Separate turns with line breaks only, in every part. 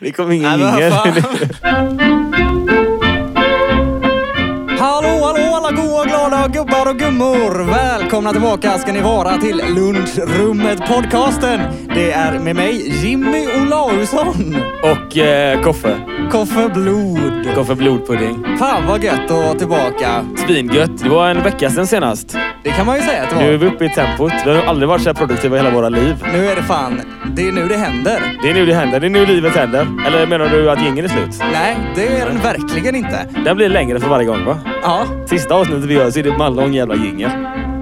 Det kom ingen
Nej, men
jingel.
vad Hallå, hallå alla goa, glada gubbar och gummor! Välkomna tillbaka ska ni vara till Lunchrummet podcasten. Det är med mig Jimmy Olausson.
Och eh, koffe.
Koffe Blod.
Koffe blodpudding.
Fan vad gött att vara tillbaka.
Svingött. Det var en vecka sedan senast.
Det kan man ju säga att det
Nu är
var.
vi uppe i tempot. Vi har aldrig varit så här produktiva i hela våra liv.
Nu är det fan, det är nu det händer.
Det är nu det händer. Det är nu livet händer. Eller menar du att gängen är slut?
Nej, det är den verkligen inte.
Den blir längre för varje gång va?
Ja,
Sista avsnittet vi gör så är det en lång jävla jingel.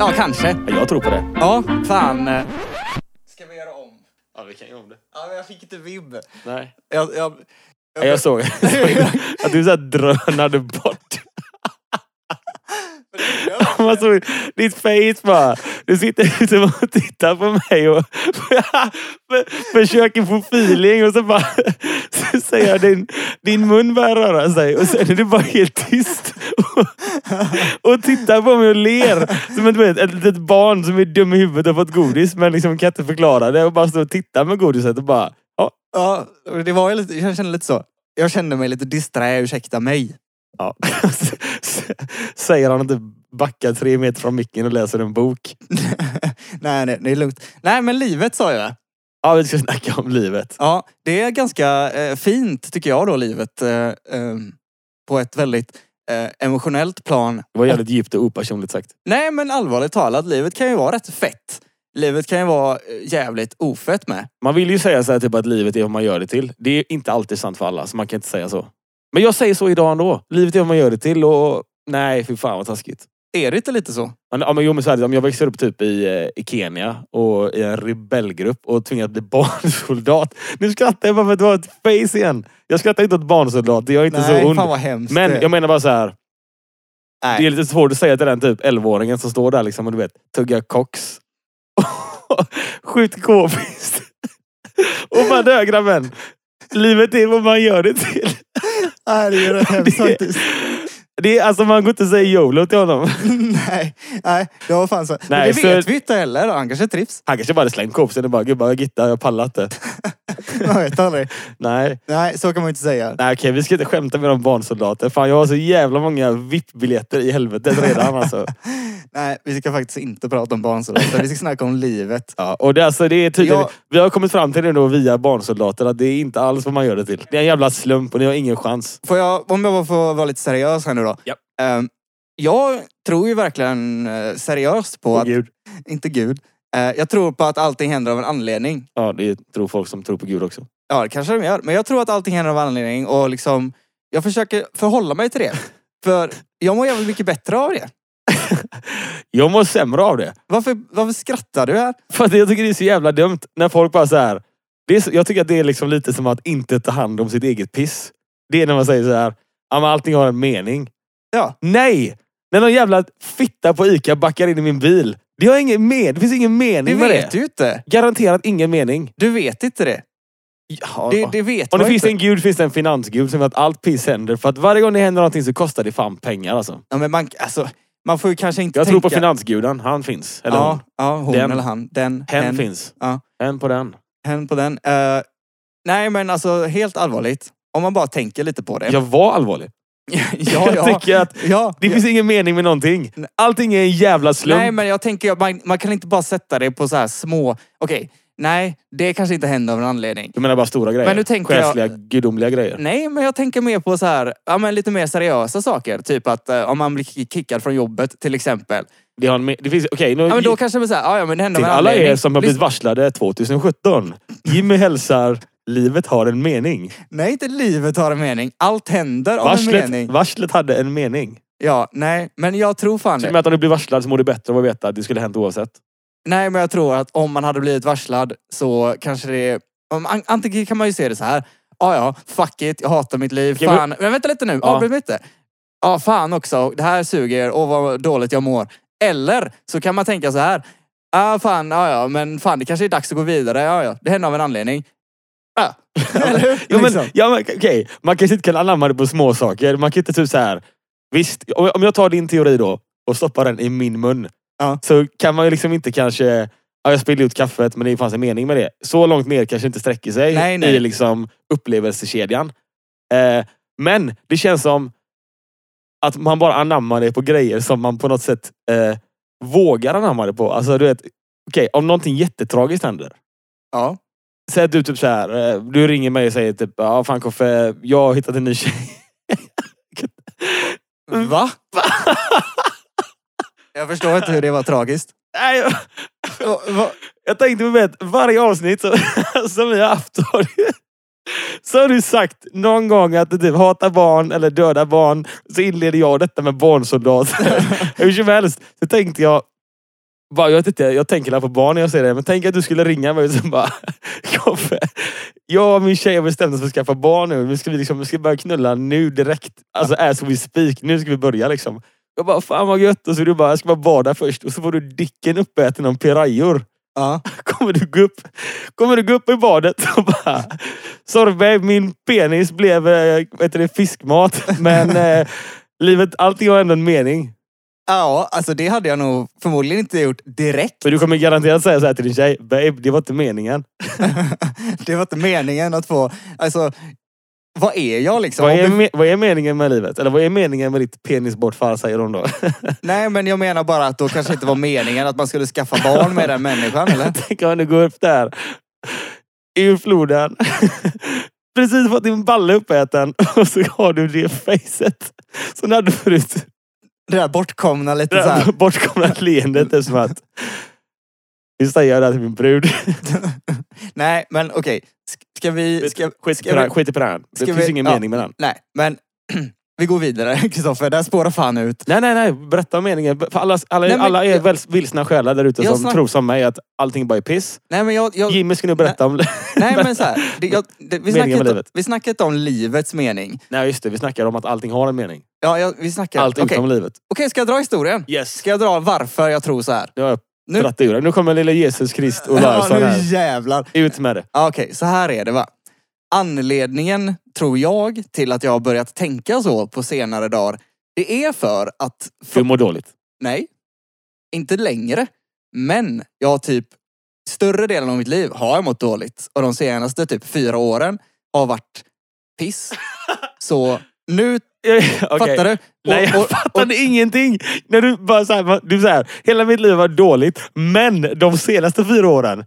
ja kanske.
Ja, Jag tror på det.
Ja, fan. Ska vi göra om?
Ja, vi kan göra om det.
Ja, men jag fick inte vibb.
Nej.
Jag, jag,
Jag, jag såg att du så här drönade bort. Man såg ditt face bara. Du sitter ute och tittar på mig och för- försöker få feeling och så bara så säger jag din, din mun börjar röra sig och sen är du bara helt tyst. Och, och tittar på mig och ler. Som ett, vet, ett litet barn som är dum i huvudet och har fått godis men liksom kan inte förklara det och bara står och tittar med godiset och bara ja,
ja, det var ju lite, jag kände lite så. Jag kände mig lite disträ, ursäkta mig.
Ja. Säger han inte backa tre meter från micken och läser en bok.
nej, nej, det är lugnt. Nej, men livet sa jag.
Ja, vi ska snacka om livet.
Ja, det är ganska eh, fint tycker jag då, livet. Eh, eh, på ett väldigt eh, emotionellt plan.
Det var jävligt djupt och opersonligt sagt.
Nej, men allvarligt talat, livet kan ju vara rätt fett. Livet kan ju vara eh, jävligt ofett med.
Man vill ju säga så här typ att livet är vad man gör det till. Det är inte alltid sant för alla, så man kan inte säga så. Men jag säger så idag ändå. Livet är vad man gör det till och nej, fy fan vad taskigt.
Är det inte lite så?
Men, ja, men, jo, men så här, om jag växer upp typ i, eh, i Kenya och i en rebellgrupp och tvingas bli barnsoldat. Nu skrattar jag bara för att det var ett face igen. Jag skrattar inte åt barnsoldat. Jag är inte
nej,
så ond.
fan vad hemskt. Eh,
Men
det-
jag menar bara så här.
nej.
Det är lite svårt att säga till den typ 11-åringen som står där liksom och du vet, tuggar koks. Skjut k-pist. och man högra män. Livet är vad man gör det till.
Nej, det är rätt hemskt
Det-
faktiskt.
Det är, alltså man går inte och säger YOLO till honom.
nej, nej, det var fan så. Men
Nej,
det
så-
vet vi inte heller. Han kanske trivs.
Han kanske bara hade slängt k-pisten och bara, gubbar jag gittar, jag pallar inte.
Man vet aldrig.
Nej,
Nej, så kan man ju inte säga.
nej okej vi ska inte skämta med de barnsoldater. Fan jag har så jävla många VIP-biljetter i helvetet redan alltså.
Nej, vi ska faktiskt inte prata om barnsoldater. Vi ska snacka om livet.
Ja, och det, alltså, det är tydligen,
Ja.
Vi har kommit fram till det då via barnsoldater att det är inte alls vad man gör det till. Det är en jävla slump och ni har ingen chans.
Får jag, om jag bara får vara lite seriös här nu då.
Ja.
Ehm, jag tror ju verkligen eh, seriöst på
Åh,
att...
Gud.
Inte Gud. Eh, jag tror på att allting händer av en anledning.
Ja, det tror folk som tror på Gud också.
Ja, det kanske de gör. Men jag tror att allting händer av anledning och liksom, jag försöker förhålla mig till det. För jag mår jävligt mycket bättre av det.
Jag mår sämre av det.
Varför, varför skrattar du här?
För att jag tycker det är så jävla dumt när folk bara så här. Det är, så- jag tycker att det är liksom lite som att inte ta hand om sitt eget piss. Det är när man säger så här. Ja, men allting har en mening.
Ja.
Nej! När någon jävla fitta på Ica backar in i min bil. Det, har ingen men, det finns ingen
Det
mening med
vet
det.
du ju inte.
Garanterat ingen mening.
Du vet inte det.
Ja,
Det, det vet
Om det
man
finns
inte.
en gud finns det en finansgud som vet att allt piss händer. För att varje gång det händer någonting så kostar det fan pengar alltså.
Ja, men man, alltså, man får ju kanske inte
Jag
tänka...
tror på finansguden. Han finns. Eller hon.
Ja, ja, hon
Den.
eller han. Den.
Hen,
hen.
finns.
Ja.
Hen på den.
hen på den. Eh, nej, men alltså helt allvarligt. Om man bara tänker lite på det.
Jag var allvarlig.
ja,
Jag tycker att
ja.
det finns ingen mening med någonting. Allting är en jävla slump.
Nej, men jag tänker att man, man kan inte bara sätta det på så här små... Okej, nej, det kanske inte händer av en anledning.
Du menar bara stora grejer?
Men nu tänker jag-
Själsliga, gudomliga grejer.
Nej, men jag tänker mer på så här, ja, men lite mer seriösa saker. Typ att eh, om man blir kick- kickad från jobbet till exempel.
Det, har en, me- det finns... Okej, nu...
Ja, men då kanske man säger, ja, ja men det händer
till
av en
alla
anledning.
er som har blivit
Lyssna-
varslade 2017. Jimmy hälsar Livet har en mening.
Nej, inte livet har en mening. Allt händer av en
Varslet,
mening.
varslet hade en mening.
Ja, nej, men jag tror fan
Till och
det.
med att om du blir varslad så mår du bättre av att veta att det skulle hänt oavsett.
Nej, men jag tror att om man hade blivit varslad så kanske det... Om, an, antingen kan man ju se det så här. Ja, ja, fuck it, jag hatar mitt liv.
Okej, men-
Fan. Men vänta lite nu,
Ja.
avbryt mig inte. Ja, fan också, det här suger och vad dåligt jag mår. Eller så kan man tänka så här. Ja, fan, ja, ja, men fan det kanske är dags att gå vidare. Ja, ja, det händer av en anledning. Ja, eller hur?
Ja, men,
Liksom.
ja, men, okej. Man kanske inte kan anamma det på små saker. Man kan inte typ så här. Visst, om om jag tar din teori då och stoppar den i min mun.
Ja.
Så kan man ju liksom inte kanske ja, jag spillde ut kaffet men det fanns en mening med det. Så långt ner kanske inte sträcker sig
Nej, nej.
i liksom upplevelsekedjan. Eh, men det känns som att man bara anammar det på grejer som man på något sätt eh, vågar anamma det på. Alltså du vet, okej om någonting jättetragiskt händer.
Ja.
Säg att du typ så här, eh, du ringer mig och säger typ, ja fan Koffe, jag har hittat en ny tjej. Mm.
Va? jag förstår inte hur det var tragiskt.
Nej, jag-
Va- va-
Jag tänkte på det, varje avsnitt som, som vi har haft har du, så har du sagt någon gång att du typ hatar barn eller dödar barn. Så inleder jag detta med barnsoldater. Hur som helst så tänkte jag, bara, jag, vet inte, jag tänker la på barn när jag säger det, men tänk att du skulle ringa mig och så bara, Koffe, jag och min tjej har bestämt oss för att skaffa barn nu. Nu ska vi, liksom, vi ska börja knulla nu direkt. Alltså as we speak, nu ska vi börja liksom. Jag bara, fan vad gött. Och så du bara, jag ska bara bada först. Och så får du dicken uppäten av pirajor
Ja.
kommer du gå upp, kommer du gå upp i badet och bara Sorry babe, min penis blev eh, vad heter det, fiskmat. Men eh, livet, allting har ändå en mening.
ja, alltså det hade jag nog förmodligen inte gjort direkt.
För du kommer garanterat säga så här till din tjej. Babe, det var inte meningen.
det var inte meningen att få... Alltså, vad är jag liksom?
Vad
Om
är,
det-
me- vad är meningen med livet? Eller vad är meningen med ditt penisbortfall säger hon då.
Nej, men jag menar bara att då kanske inte var meningen att man skulle skaffa barn med den människan, eller?
Tänk om du går upp där ur floden. Precis fått din balle uppäten och så har du det facet som du hade förut.
Det där bortkomna lite
Det
så
här
här.
bortkomna leendet är som att... Nu säger jag det här till min brud.
Nej, men okej. Sk- Ska vi... Ska,
Skit,
ska
i
vi
pran- skit i prän. Det
ska
finns
vi-
ingen
ja.
mening med den.
nej, men vi går vidare, Kristoffer. Där spårar fan ut.
Nej, nej, nej. Berätta om meningen. För alla, alla,
Nej, men-
alla är
jag-
väl vilsna själar där ute
Jag
som
snack-
tror som mig att allting bara är piss.
Nej, men jag... jag
Jimmy ska nu berätta om...
nej, men så här. Det, jag, det,
Meningen
vi, snackar
med
inte,
livet.
vi snackar inte om livets mening.
nej, just det. Vi snackar om att allting har en mening.
Ja, jag, vi snackar...
Allt
Okej,
utom livet.
Okej, ska jag dra historien?
Yes.
Ska jag dra varför jag tror så här?
Nu har jag
Nu-
dratt ur det. Nu kommer lilla Jesus Krist och
Ja,
Larsson
nu
här.
jävlar.
Ut med det.
Ja, Okej, så här är det va. Anledningen, tror jag, till att jag har börjat tänka så på senare dagar, det är för att... För,
Du mår dåligt.
Nej, inte längre. Men jag har typ... Större delen av mitt liv har jag mått dåligt. Och de senaste typ fyra åren har varit piss. Så nu,
Okej.
fattar du? Och-
Nej, jag
och-
fattade ingenting. När du bara så här, du så här, hela mitt liv var dåligt, men de senaste fyra åren,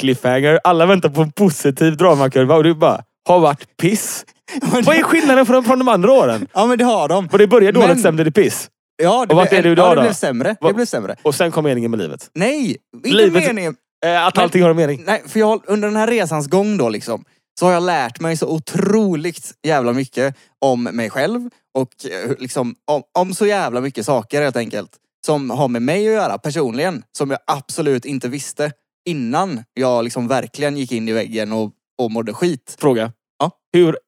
cliffhanger, alla väntar på en positiv dramakurva och du bara, har varit piss. Vad är skillnaden från, från de andra åren?
Ja men det har de.
Och det började dåligt,
Men-
sen blev det piss.
Ja, det,
Och vart
blev-
är du
ja,
idag
det
då?
blev sämre. Det
Vad-
blev sämre.
Och sen kom meningen med livet.
Nej, inte
Livet-
meningen.
Eh, att
Men-
allting har en mening.
Nej, för jag, har- under den här resans gång då liksom, så har jag lärt mig så otroligt jävla mycket om mig själv och eh, hur- liksom, om, om så jävla mycket saker helt enkelt. Som har med mig att göra personligen, som jag absolut inte visste innan jag liksom verkligen gick in i väggen och, och mådde skit.
Fråga.
Ja.
Hur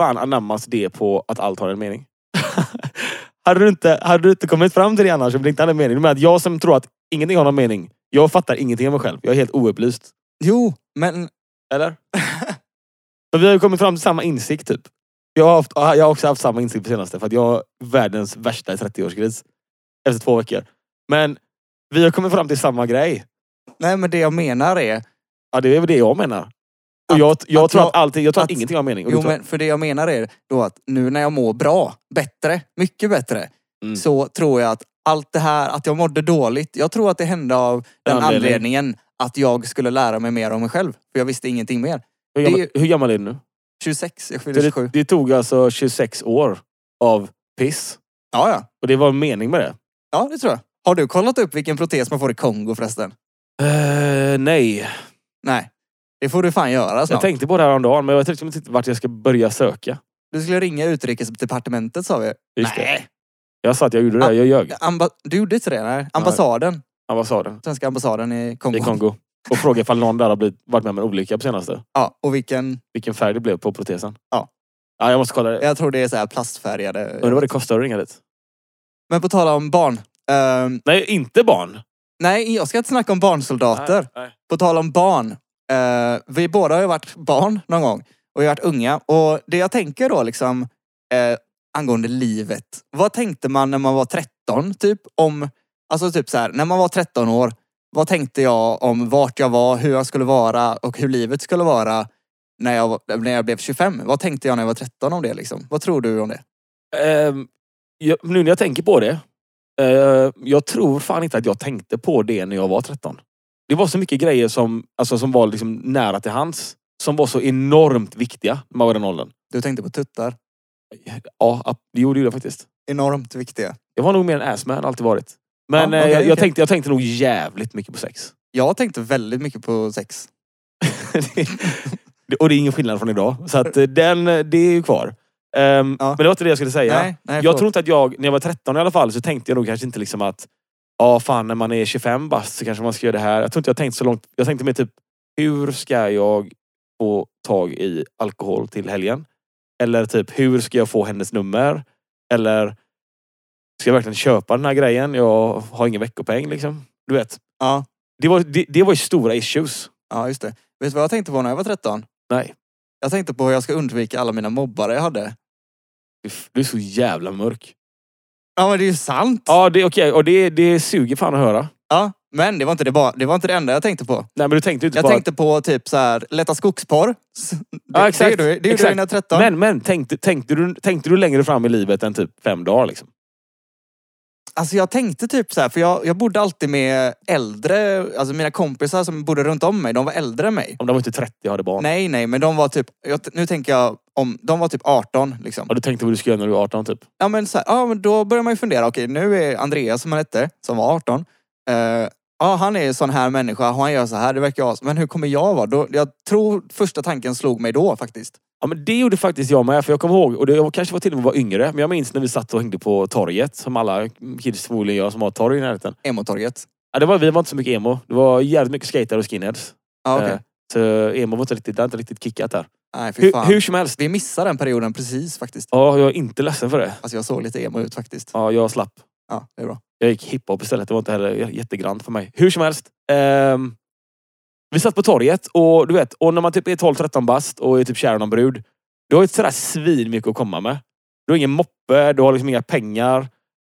fan anammas det på att allt har en mening? hade, du inte, hade du inte kommit fram till det annars om det inte hade en mening? Du menar att jag som tror att ingenting har någon mening, jag fattar ingenting av mig själv. Jag är helt oupplyst.
Jo, men
Eller? För vi har ju kommit fram till samma insikt typ. Jag har, haft, jag har också haft samma insikt på senaste för att jag har världens värsta 30-årskris. Efter två veckor. Men vi har kommit fram till samma grej.
nej, men det jag menar är...
Ja, det är väl det jag menar. Och jag, jag
att
tror att,
jag-
allting, jag tror att,
att-
ingenting har mening. Och du
Jo,
tror,
men för det jag menar är då att nu när jag mår bra, bättre, mycket bättre,
Mm.
så tror jag att allt det här, att jag mådde dåligt, jag tror att det hände av den
Anledning.
anledningen att jag skulle lära mig mer om mig själv. För jag visste ingenting mer.
hur, gammal,
det
hur gammal är du nu?
26, jag fyller
Så Det,
27.
det tog alltså 26 år av piss.
Ja, ja.
Och det var en mening med det.
Ja, det tror jag. Har du kollat upp vilken protes man får i Kongo förresten?
Eh, nej.
Nej. Det får du fan göra
Jag
snart.
tänkte på det här om dagen men jag vet liksom inte vart jag ska börja söka.
Du skulle ringa utrikesdepartementet sa vi.
Just det.
Nej. Ah.
Jag sa att jag gjorde det, jag ljög.
Amba- du gjorde inte det? Nej. Ambassaden.
Ambassaden.
Svenska ambassaden i Kongo.
i Kongo. Och fråga ifall någon där har blivit, varit med om en olycka på senaste.
Ja, och vilken?
Vilken färg det blev på protesen.
Ja.
ja jag måste kolla det.
Jag tror det är så här plastfärgade.
Undrar vad det kostar att ringa dit.
Men på tal om barn. Ehm,
Nej, inte barn.
nej, jag ska inte snacka om barnsoldater.
Nej, nej.
På tal om barn. eh, vi båda har ju varit barn någon gång. Och vi har varit unga. Och det jag tänker då liksom eh, angående livet. Vad tänkte man när man var 13 typ om... Alltså typ så här, när man var 13 år. vad tänkte jag om vart jag var, hur jag skulle vara och hur livet skulle vara när jag, var- när jag blev 25? Vad tänkte jag när jag var 13 om det liksom? Vad tror du om det?
Ehm, jag, nu när jag tänker på det. eh, jag tror fan inte att jag tänkte på det när jag var 13. Det var så mycket grejer som, alltså, som var liksom nära till hands. Som var så enormt viktiga när man var i den åldern.
Du tänkte på tuttar.
Ja, ab- det gjorde ju det faktiskt.
Enormt viktiga.
Jag var nog mer en assman, alltid varit. Men
Ja,
eh,
okej,
jag, jag,
okej.
tänkte, jag tänkte nog jävligt mycket på sex.
Jag tänkte väldigt mycket på sex.
Det- och det är ingen skillnad från idag. Så att eh, den, eh, det är ju kvar. Ehm,
Ja.
Men det var inte det jag skulle säga.
Nej, nej,
jag
förlåt.
tror inte att jag, när jag var 13 i alla fall, så tänkte jag nog kanske inte liksom att ja fan när man är 25 bast så kanske man ska göra det här. Jag tror inte jag tänkte så långt. Jag tänkte mer typ, hur ska jag få tag i alkohol till helgen? Eller typ, hur ska jag få hennes nummer? Eller, ska jag verkligen köpa den här grejen? Jag har ingen veckopeng liksom. Du vet.
Ja,
Det var, det, det var ju stora issues.
ja, just det. Vet du vad jag tänkte på när jag var 13?
Nej.
Jag tänkte på hur jag ska undvika alla mina mobbare jag hade.
Du f- Du är så jävla mörk.
Ja, men det är ju sant!
Ja, det, okay. och det, det suger fan att höra.
Ja, men det var, inte det, bara, det var inte det enda jag tänkte på.
Nej, men du tänkte ju inte
Jag
bara...
tänkte på typ så här, lätta skogsporr. S- Det,
Ja, exakt.
det, gjorde- det gjorde
Exakt.
jag när jag var 13.
Men, men tänkte, tänkte, du, tänkte du längre fram i livet än typ fem dagar? Liksom?
Alltså jag tänkte typ så här, för jag, jag bodde alltid med äldre, alltså mina kompisar som bodde runt om mig, de var äldre än mig.
Om de var inte 30 och hade barn.
Nej, nej, men de var typ, jag, nu tänker jag om, de var typ 18 liksom.
Ja, du tänkte vad du skulle göra när du var 18 typ.
Ja men, så här, ja, men då börjar man ju fundera, okej nu är Andreas som han hette, som var 18, eh, ja han är en sån här människa, och han gör så här, det verkar jag, men hur kommer jag vara? Då, jag tror första tanken slog mig då faktiskt.
Ja, men det gjorde faktiskt jag med. För jag kommer ihåg, och det jag kanske var till och med var yngre, men jag minns när vi satt och hängde på torget. Som alla kids förmodligen gör som har torg i närheten.
Emotorget.
Ja, det var, vi var inte så mycket emo. Det var jävligt mycket skater och skinheads.
Ja, okej.
Eh, Så emo var inte riktigt, det hade inte riktigt kickat där.
Nej, fy
Hur,
fan.
hur som helst.
Vi missade den perioden precis faktiskt.
Ja, jag är inte ledsen för det.
Alltså jag såg lite emo ut faktiskt.
Ja, jag slapp.
Ja, det är bra.
Jag gick hiphop istället. Det var inte heller j- jättegrant för mig. Hur som helst. ehm, vi satt på torget och du vet, och när man typ är 12-13 bast och är typ kär i någon brud. Du har ju sådär svin mycket att komma med. Du har ingen moppe, du har liksom inga pengar.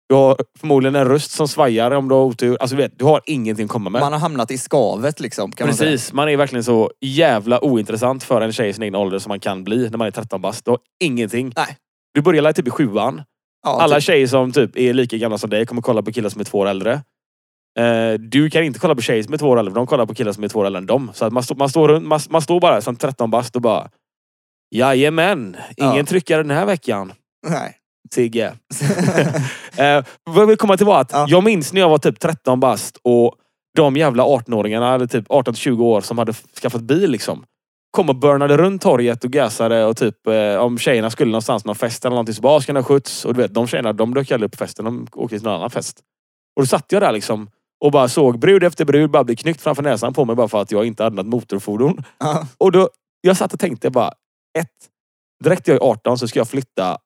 Du har förmodligen en röst som svajar om du har otur. Alltså du vet, du har ingenting att komma med.
Man har hamnat i skavet liksom. Kan Man säga.
Precis, man är verkligen så jävla ointressant för en tjej i sin egen ålder som man kan bli när man är 13 bast. Du har ingenting.
Nej.
Du börjar lite typ i sjuan.
Ja,
Alla
typ.
tjejer som typ är lika gamla som dig kommer kolla på killar som är två år äldre. Eh, du kan inte kolla på tjejer som är två år äldre, för de kollar på killar som är två år äldre än dem. Så att man, stå, man, står, runt- man, man står bara som 13 bast och bara Jajamän, ingen
Ja.
tryckare den här veckan.
Nej.
Sigge. Eh, vad jag vill komma till var att
Ja.
jag minns när jag var typ 13 bast och de jävla 18-åringarna, eller typ 18-20 år, som hade skaffat bil liksom. Kom och burnade runt torget och gasade och typ eh, om tjejerna skulle någonstans någon fest eller någonting så bara "Ah, ska ni ha skjuts? Och du vet, de tjejerna de dök aldrig upp på festen. De åkte till någon annan fest. Och då satt jag där liksom och bara såg brud efter brud bara bli knyckt framför näsan på mig bara för att jag inte hade något motorfordon.
Ja,
Och då, jag satt och tänkte bara, ett, direkt jag är 18 så ska jag flytta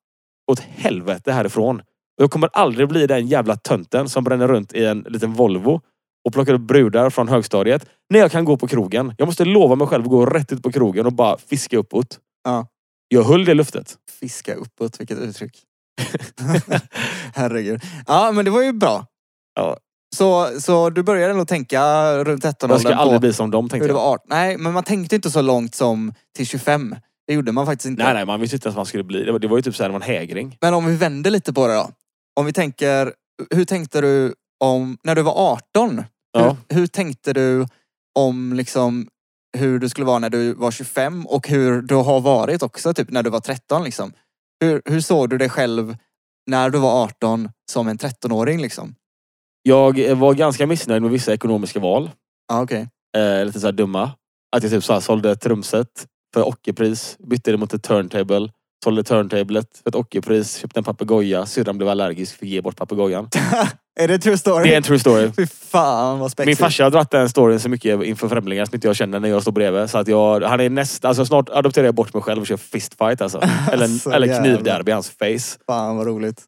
åt helvete härifrån. Och jag kommer aldrig bli den jävla tönten som bränner runt i en liten Volvo och plockar upp brudar från högstadiet. När jag kan gå på krogen. Jag måste lova mig själv att gå rätt ut på krogen och bara fiska uppåt.
Ja.
Jag höll det luftet.
fiska uppåt, vilket uttryck. Herregud. Ja, men det var ju bra.
Ja.
Så, så du började nog tänka runt 13
Jag ska
åldern
aldrig
på
bli som dem
hur
tänkte
det
jag.
var 18. Nej, men man tänkte inte så långt som till 25. Det gjorde man faktiskt inte.
Nej, nej, man visste inte ens vad man skulle bli. Det var, det var ju typ såhär, det var en hägring.
Men om vi vänder lite på det då. Om vi tänker, hur tänkte du om, när du var 18?
Ja.
Hur, hur tänkte du om liksom hur du skulle vara när du var 25 och hur du har varit också typ när du var 13 liksom? Hur, hur såg du dig själv när du var 18 som en 13-åring liksom?
Jag eh, var ganska missnöjd med vissa ekonomiska val.
Ja okej.
eh, lite så här dumma. Att jag typ så här sålde ett trumset för ockerpris, bytte det mot ett turntable, sålde turntablet för ett ockerpris, köpte en papegoja, syrran blev allergisk, fick ge bort papegojan.
Är det true story?
Det är en true story.
Fy fan vad spexigt.
Min farsa har dragit den storyn så mycket inför främlingar som inte jag känner när jag står bredvid. Så att jag, han är näst, alltså snart adopterar jag bort mig själv och kör fistfight alltså. Eller,
Alltså,
eller
jävlar.
knivderby i hans face.
Fan vad roligt.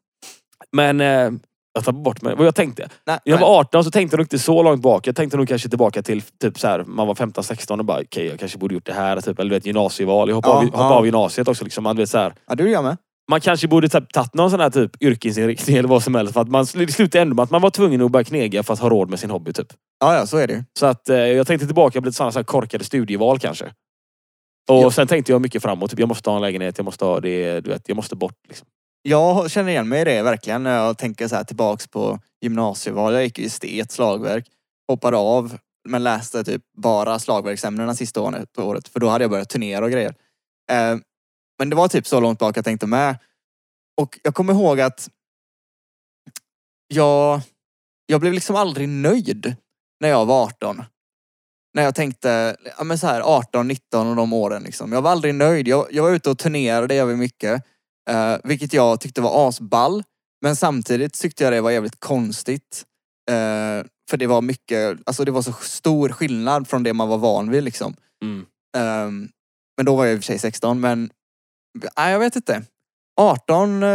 Men eh, jag tar bort mig. Vad jag tänkte.
Nej,
Jag
nej.
var 18 så tänkte jag nog inte så långt bak. Jag tänkte nog kanske tillbaka till typ så här, man var 15-16 och bara okej, jag kanske borde gjort det här. Typ, eller du vet, gymnasieval. Jag hoppade,
Ja,
av, hoppade
ja.
av gymnasiet också. Liksom. Man, du vet, så här,
Ja du är jag med.
Man kanske borde typ tagit någon sån här typ yrkesinriktning eller vad som helst. För att man sl- det slutade ändå med att man var tvungen att börja knega för att ha råd med sin hobby. Typ.
Ja, ja, så är det ju.
Så att eh, jag tänkte tillbaka på lite sådana så här korkade studieval kanske. Och
Ja.
sen tänkte jag mycket framåt. Typ, jag måste ha en lägenhet, jag måste ha det, du vet, jag måste bort. Liksom.
Jag känner igen mig i det verkligen när jag tänker så här tillbaks på gymnasieval. Jag gick ju estet, slagverk, hoppade av men läste typ bara slagverksämnena sista året- året för då hade jag börjat turnera och grejer. Eh, Men det var typ så långt bak jag tänkte med. Och jag kommer ihåg att jag, jag blev liksom aldrig nöjd när jag var 18. När jag tänkte, ja men så här 18, 19 och de åren liksom. Jag var aldrig nöjd. Jag, jag var ute och turnerade jävligt mycket. Eh, vilket jag tyckte var asball. Men samtidigt tyckte jag det var jävligt konstigt. Eh, för det var mycket, alltså det var så stor skillnad från det man var van vid liksom.
Mm.
Ehm, men då var jag i och för sig 16 men, nej jag vet inte. 18, eh,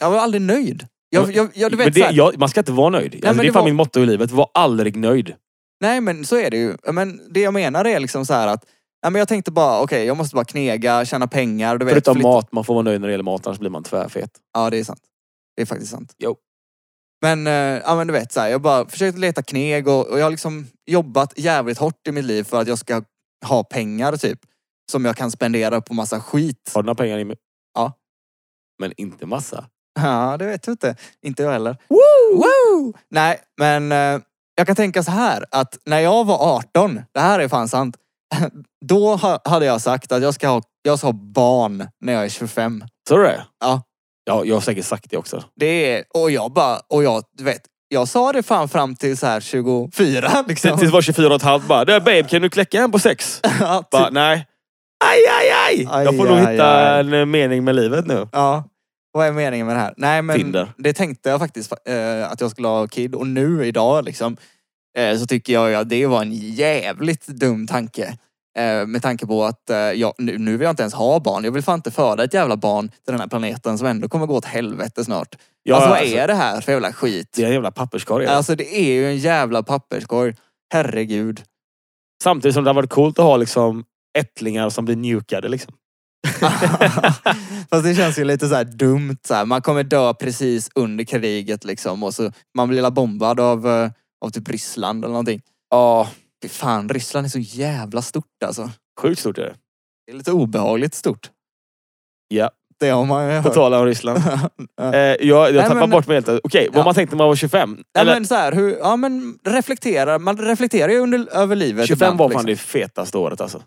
jag var aldrig nöjd. Jag, jag, jag, du vet,
Men det,
så här-
jag, man ska inte vara nöjd. alltså,
men
det är
det
fan
var-
mitt motto i livet. Var aldrig nöjd.
Nej men så är det ju. Men det jag menar är liksom så här att ja, men jag tänkte bara okej jag måste bara knega, tjäna pengar. Du vet,
Förutom
flytta-
mat. Man får vara nöjd när det gäller mat, annars blir man tvärfet.
Ja det är sant. Det är faktiskt sant.
Jo.
Men, eh, ja, men du vet så här, jag bara försökte leta kneg och, och jag har liksom jobbat jävligt hårt i mitt liv för att jag ska ha pengar typ. Som jag kan spendera på massa skit.
Har du några pengar Jimmy?
Ja.
Men inte massa.
Ja, det vet jag inte. Inte jag heller. Woo! Nej, men eh, jag kan tänka så här att när jag var 18, det här är fan sant. Då ha, hade jag sagt att jag ska, ha, jag ska ha barn när jag är 25.
Tror du det?
Ja.
ja. Jag har säkert sagt det också.
Det är, och jag bara, och jag, du vet, jag sa det fan fram till så här 24 liksom.
Tills var 24 och ett halvt bara. Du babe, kan du kläcka en på sex?
Ja, typ.
Bara, nej. Aj, aj, aj!
Aj,
jag får nog
aj,
hitta
aj.
en eh, mening med livet nu.
Ja. Vad är meningen med det här? Nej men
Tinder.
det tänkte jag faktiskt eh, att jag skulle ha kid och nu idag liksom eh, så tycker jag ju att det var en jävligt dum tanke. Eh, med tanke på att eh, jag, nu, nu vill jag inte ens ha barn. Jag vill fan inte föda ett jävla barn till den här planeten som ändå kommer gå åt helvete snart.
Ja,
alltså vad
alltså-
är det här för jävla skit?
Det är en jävla papperskorg.
Alltså det är ju en jävla papperskorg. Herregud.
Samtidigt som det har varit coolt att ha liksom ättlingar som blir njukade. Liksom.
Fast det känns ju lite så här dumt. Så här. Man kommer dö precis under kriget liksom. Och så man blir la bombad av, eh, av typ Ryssland eller någonting.
Ja,
Fy fan, Ryssland är så jävla stort alltså.
sjukt stort är det.
Det är lite obehagligt stort.
Ja.
Det har man ju
På
hört.
tal om Ryssland. Eh, jag jag
Nej,
tappar
men-
bort mig helt. Okej, vad
Ja.
man tänkte när man var 25.
Ja,
Eller
men så här, hur, ja men reflektera. Man reflekterar ju under, över livet.
25
ibland,
var fan
liksom.
det fetaste året alltså.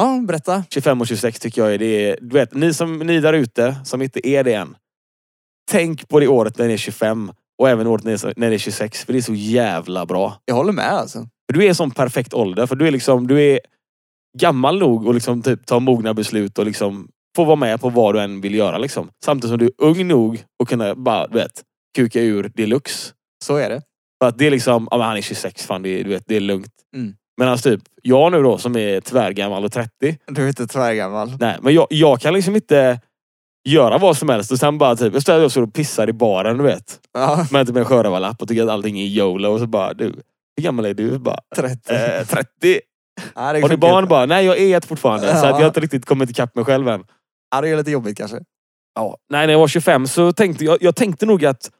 Ja, berätta.
25 och 26 tycker jag är det. är- Du vet, ni, som, ni där ute som inte är det än. Tänk på det året när ni är 25 och även året när ni är, när ni är 26. För det är så jävla bra.
Jag håller med alltså.
För du är i sån perfekt ålder. För du är liksom, du är gammal nog och liksom typ ta mogna beslut och liksom få vara med på vad du än vill göra. Liksom. Samtidigt som du är ung nog och kunna bara, du vet, kuka ur deluxe.
Så är det.
För att det är liksom, ja men han är 26, fan det är, du vet, det är lugnt.
Mm.
Medan typ, jag nu då som är tvärgammal och 30.
Du är inte tvärgammal.
Nej, men jag, jag kan liksom inte göra vad som helst och sen bara typ, jag står och står och pissar i baren du vet.
Ja,
Men typ en sjörövarlapp och tycker att allting är YOLO och så bara du, hur gammal är du? Bara,
30.
eh, 30.
ja, det är
Har du
sjukt.
barn bara? Nej, jag är ett fortfarande. Så att
Ja.
jag har inte riktigt kommit ikapp mig själv än.
Ja, det är lite jobbigt kanske.
Ja. Nej, när jag var 25 så tänkte jag, jag tänkte nog att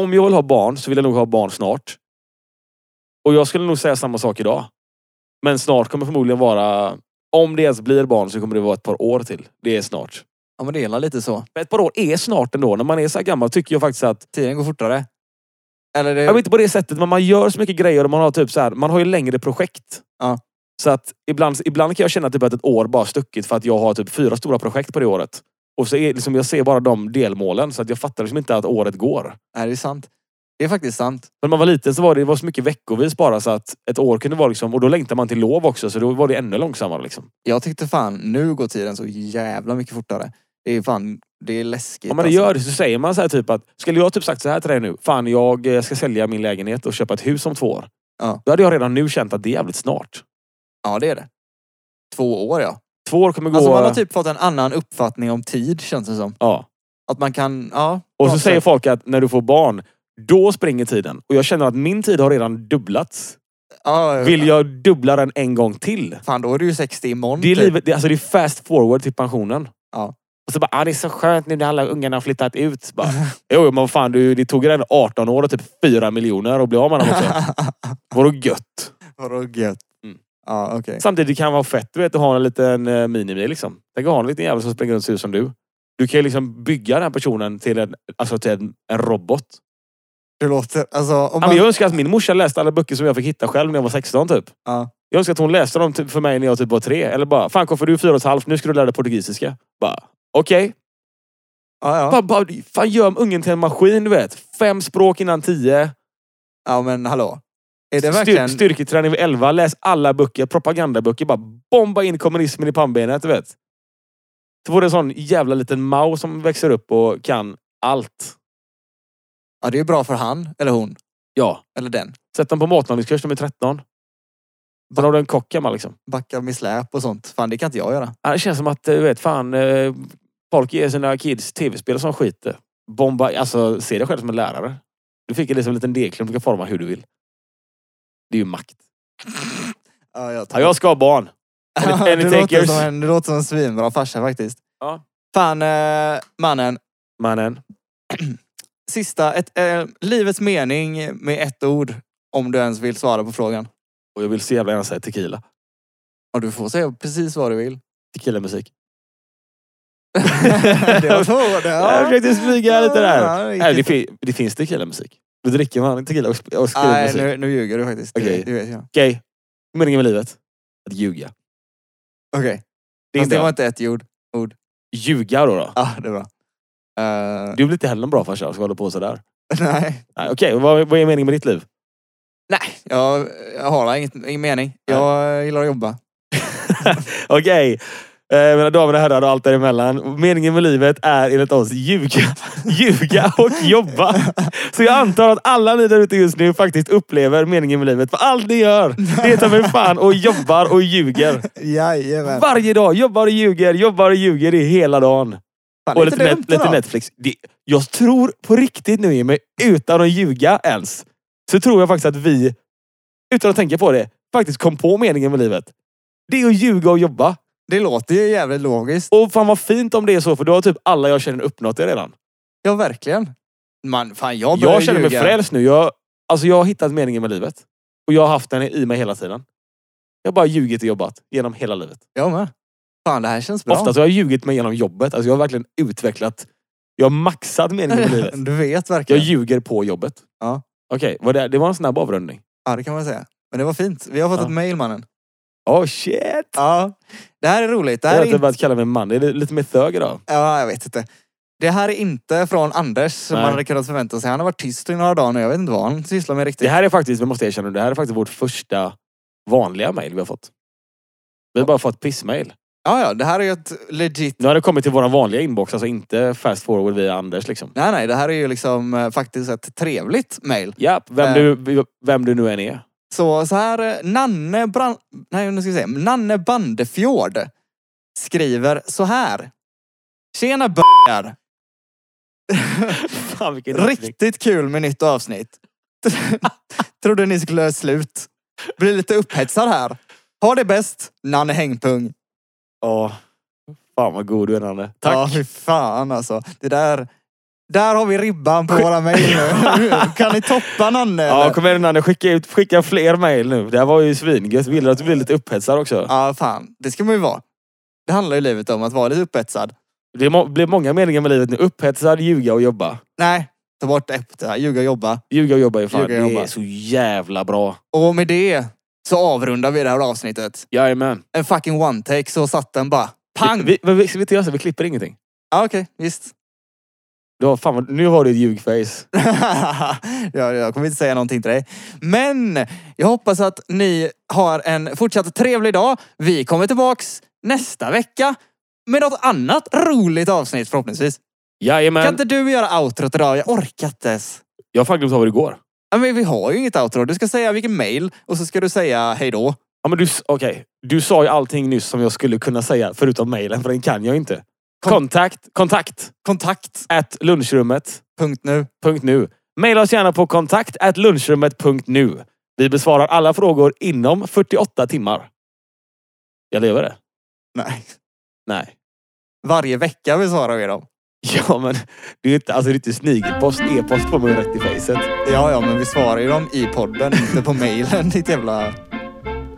om jag vill ha barn så vill jag nog ha barn snart. Och jag skulle nog säga samma sak idag. Men snart kommer förmodligen vara, om det ens blir barn så kommer det vara ett par år till. Det är snart.
Ja, men det är lite så.
Men ett par år är snart ändå. När man är så här gammal tycker jag faktiskt att,
Tiden går fortare. Eller det...
jag vet inte på det sättet, men man gör så mycket grejer och man har typ så här, man har ju längre projekt.
Ja.
Så att ibland, ibland kan jag känna typ att ett år bara stuckit för att jag har typ fyra stora projekt på det året. Och så är, liksom, jag ser bara de delmålen så att jag fattar liksom inte att året går.
Nej, det är sant. Det är faktiskt sant.
När man var liten så var det, det var så mycket veckovis bara så att ett år kunde vara liksom, och då längtar man till lov också så då var det ännu långsammare liksom.
Jag tyckte fan, nu går tiden så jävla mycket fortare. Det är fan, det är läskigt. alltså.
Om man gör det så säger man så här typ att, skulle jag typ sagt så här till dig nu, fan jag eh, ska sälja min lägenhet och köpa ett hus om två år.
Ja.
Då hade jag redan nu känt att det är jävligt snart.
alltså. Ja, det är det. Två år ja.
Två år kommer gå...
Alltså man har typ fått en annan uppfattning om tid känns det som.
ja.
Att man kan, ja.
Och
på
så
något
säger
sätt.
folk att när du får barn, då springer tiden. Och jag känner att min tid har redan dubblats.
ja,
Vill jag dubbla den en gång till?
Fan, då är du ju 60 imorgon.
Det är,
Mm, typ.
livet, det, alltså det är fast forward till pensionen.
Ja.
Och så bara, ah, det är så skönt nu när alla ungarna har flyttat ut. Så Bara, jo, men vad fan, du, det tog redan 18 år och typ 4 miljoner och bli av med dem också. Vadå gött?
Vadå gött?
Mm.
Ja, okej.
Samtidigt kan det vara fett du vet, att ha en liten eh, minimi. Liksom. Tänk att ha en liten jävel som springer runt och ser ut som du. Du kan ju liksom bygga den här personen till en, alltså till en, en robot.
Det låter... Alltså, om
Ja,
man...
men Jag önskar att min morsa läste alla böcker som jag fick hitta själv när jag var 16 typ.
Ja.
Jag önskar att hon läste dem typ, för mig när jag typ var tre. Eller bara, fan Koffe du är fyra och ett halvt, nu ska du lära dig portugisiska. Bara, okej.
Ja, ja.
Bara, bara, fan gör ungen till en maskin du vet. Fem språk innan tio.
ja, men hallå. Är
Styr,
det verkligen...
styrketräning vid elva. Läs alla böcker, propagandaböcker. Bara bomba in kommunismen i pannbenet du vet. Så får du en sån jävla liten Mao som växer upp och kan allt.
Ja, det är ju bra för han, eller hon,
Ja.
eller den.
Sätt dem på matlagningskurs, de är 13. Sen har du en kock hemma liksom.
Backa med släp och sånt. Fan, det kan inte jag göra.
Ja, Det känns som att, eh, du vet, fan. eh, Folk ger sina kids tv-spel som skiter. Bomba, alltså se dig själv som en lärare. Du fick liksom en liten degklump du kan forma hur du vill. Det är ju makt.
Ja, jag
Ja, jag ska ha barn. any- any
du, låter
takers?
som en, du låter som en svinbra farsa faktiskt.
Ja.
Fan, eh, mannen.
Mannen.
Sista. Ett, eh, livets mening med ett ord. Om du ens vill svara på frågan.
Och jag vill så jävla gärna säga tequila.
Och du får säga precis vad du vill.
Tequila-musik.
det var två. Det, ja.
Jag försökte smyga lite där.
Ja, det gick
Nej, det,
inte.
fi- det finns tequila-musik. Då dricker man tequila och sp- och skriver
Nej,
musik.
nu, nu ljuger du faktiskt.
Okej.
Det, det vet jag.
Okej. Meningen med livet? Att ljuga.
Okej.
Det är
Fast
inte
det var
jag.
inte ett ord.
Ljuga då. då.
Ja, det är bra. Eh,
Du blir inte heller en bra farsa som håller på sådär.
nej.
Nej, Okej, vad, vad är meningen med ditt liv?
Nej, jag, jag har inget, ingen mening. Jag gillar att jobba.
Okej. Eh, mina damer och herrar och allt däremellan. Meningen med livet är enligt oss ljuga, ljuga och jobba. Så jag antar att alla ni där ute just nu faktiskt upplever meningen med livet. För allt ni gör, det är ta mig fan och jobbar och ljuger.
Jajamän.
Varje dag jobbar och ljuger, jobbar och ljuger i hela dagen.
Fan,
Och
inte
lite,
dumt
net, lite
ändå.
Netflix. Det, jag tror på riktigt nu Jimmy, utan att ljuga ens, så tror jag faktiskt att vi, utan att tänka på det, faktiskt kom på meningen med livet. Det är att ljuga och jobba.
Det låter ju jävligt logiskt.
Och fan vad fint om det är så, för då har typ alla jag känner uppnått det redan.
Ja, verkligen. Man, fan, jag börjar
Jag känner mig
ljuga.
fräls nu. Jag, alltså jag har hittat meningen med livet. Och jag har haft den i mig hela tiden. Jag har bara ljugit och jobbat genom hela livet.
Jag med. Fan, det här känns bra.
Oftast har jag ljugit mig genom jobbet. Alltså jag har verkligen utvecklat... Jag har maxat meningen med livet.
du vet
Jag
verkligen.
ljuger på jobbet.
Ja.
Okej, var det, det var en snabb avrundning.
Ja, det kan man säga. Men det var fint. Vi har fått
Ja.
ett mail, mannen.
Oh shit!
Ja. Det här är roligt. Det
Jag
här
har
är
inte
inte...
börjat typ kalla mig man. Det är lite mer thög idag.
Ja, jag vet inte. Det här är inte från Anders som
Nej.
man hade kunnat förvänta sig. Han har varit tyst i några dagar nu. Jag vet inte vad han sysslar med riktigt.
Det här är faktiskt, vi måste erkänna, det här är faktiskt vårt första vanliga mail vi har fått. Vi har bara fått pissmail.
Ja, ja, det här är ju ett legit...
Nu har det kommit till våran vanliga inbox, alltså inte fast forward via Anders liksom.
Nej, nej, det här är ju liksom eh, faktiskt ett trevligt mail.
Ja, vem,
Eh.
du, vem du nu än är.
Så, så här, eh, Nanne, Bran... Nej, nu ska vi se. Nanne Bandefjord skriver så här. Tjena b***ar!
Fan vilken öppning.
Riktigt kul med nytt avsnitt. Trodde ni skulle göra slut. Blir lite upphetsad här. Ha det bäst, Nanne Hängpung.
Ja. Fan vad god du är Nanne. Tack.
Ja, fy fan alltså. Det där... Där har vi ribban på våra mejl nu. Kan ni toppa Nanne?
Ja,
eller?
kom igen Nanne. Skicka, ut, skicka fler mail nu. Det här var ju svingött. Vill du att du blir lite upphetsad också?
Ja, fan. Det ska man ju vara. Det handlar ju livet om, att vara lite upphetsad.
Det är må- blir många meningar med livet nu. Upphetsad, ljuga och jobba.
Nej, ta bort det. Ljuga och jobba.
Ljuga och jobba är fan,
Ljuga och
det
jobba.
är så jävla bra.
Och med det så avrundar vi det här avsnittet.
Jajamän.
En fucking one-take så satt den bara. Pang!
Vi, vi, vi, ska vi inte göra så? Vi klipper ingenting.
Ja, okej. Visst.
Det var, fan, vad- nu har du ett ljugface.
jag, jag kommer inte säga någonting till dig. Men jag hoppas att ni har en fortsatt trevlig dag. Vi kommer tillbaks nästa vecka med något annat roligt avsnitt förhoppningsvis.
Jajamän.
Kan inte du göra outrot idag? Jag orkar inte ens.
Jag har fan glömt av hur det går.
Ja, men vi har ju inget outro. Du ska säga vilken mail och så ska du säga hej då.
Ja, men du, s- okej. du sa ju allting nyss som jag skulle kunna säga förutom mejlen, för den kan jag inte.
Kon-
kontakt, kontakt,
Kontakt.
at lunchrummet.
Punkt nu.
punkt nu. Maila oss gärna på kontakt at lunchrummet.nu. Vi besvarar alla frågor inom 48 timmar. Jag lever det?
Nej.
Nej.
varje vecka vi svarar vi dem.
Ja, men det är ju inte, alltså, det är inte snigelpost. E-post får man ju rätt i facet.
Ja, ja, men vi svarar ju dem i podden, inte på mejlen. Ditt jävla...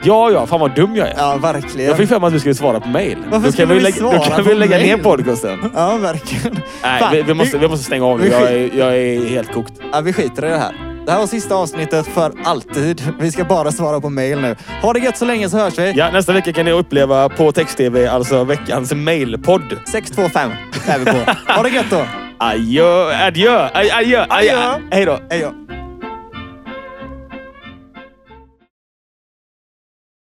Ja, ja. Fan vad dum jag är.
Ja, verkligen.
Jag fick för mig att du skulle svara på mail.
Varför
Då
skulle
kan vi
vi
lägga,
svara
då kan
på
vi lägga ner
mail?
podcasten.
Ja, verkligen.
Nej,
Fan,
vi, vi, måste, vi måste stänga av nu.
vi-
Jag är, jag är helt kokt.
Ja, vi skiter i det här. Det här var sista avsnittet för alltid. Vi ska bara svara på mejl nu. Ha det gött så länge så hörs vi.
Ja, nästa vecka kan ni uppleva på text-tv, alltså veckans mailpodd.
625 är vi på. Ha det gött då.
Adjö, adjö, adjö, adjö.
Adjö.
Hej då.
Hej då.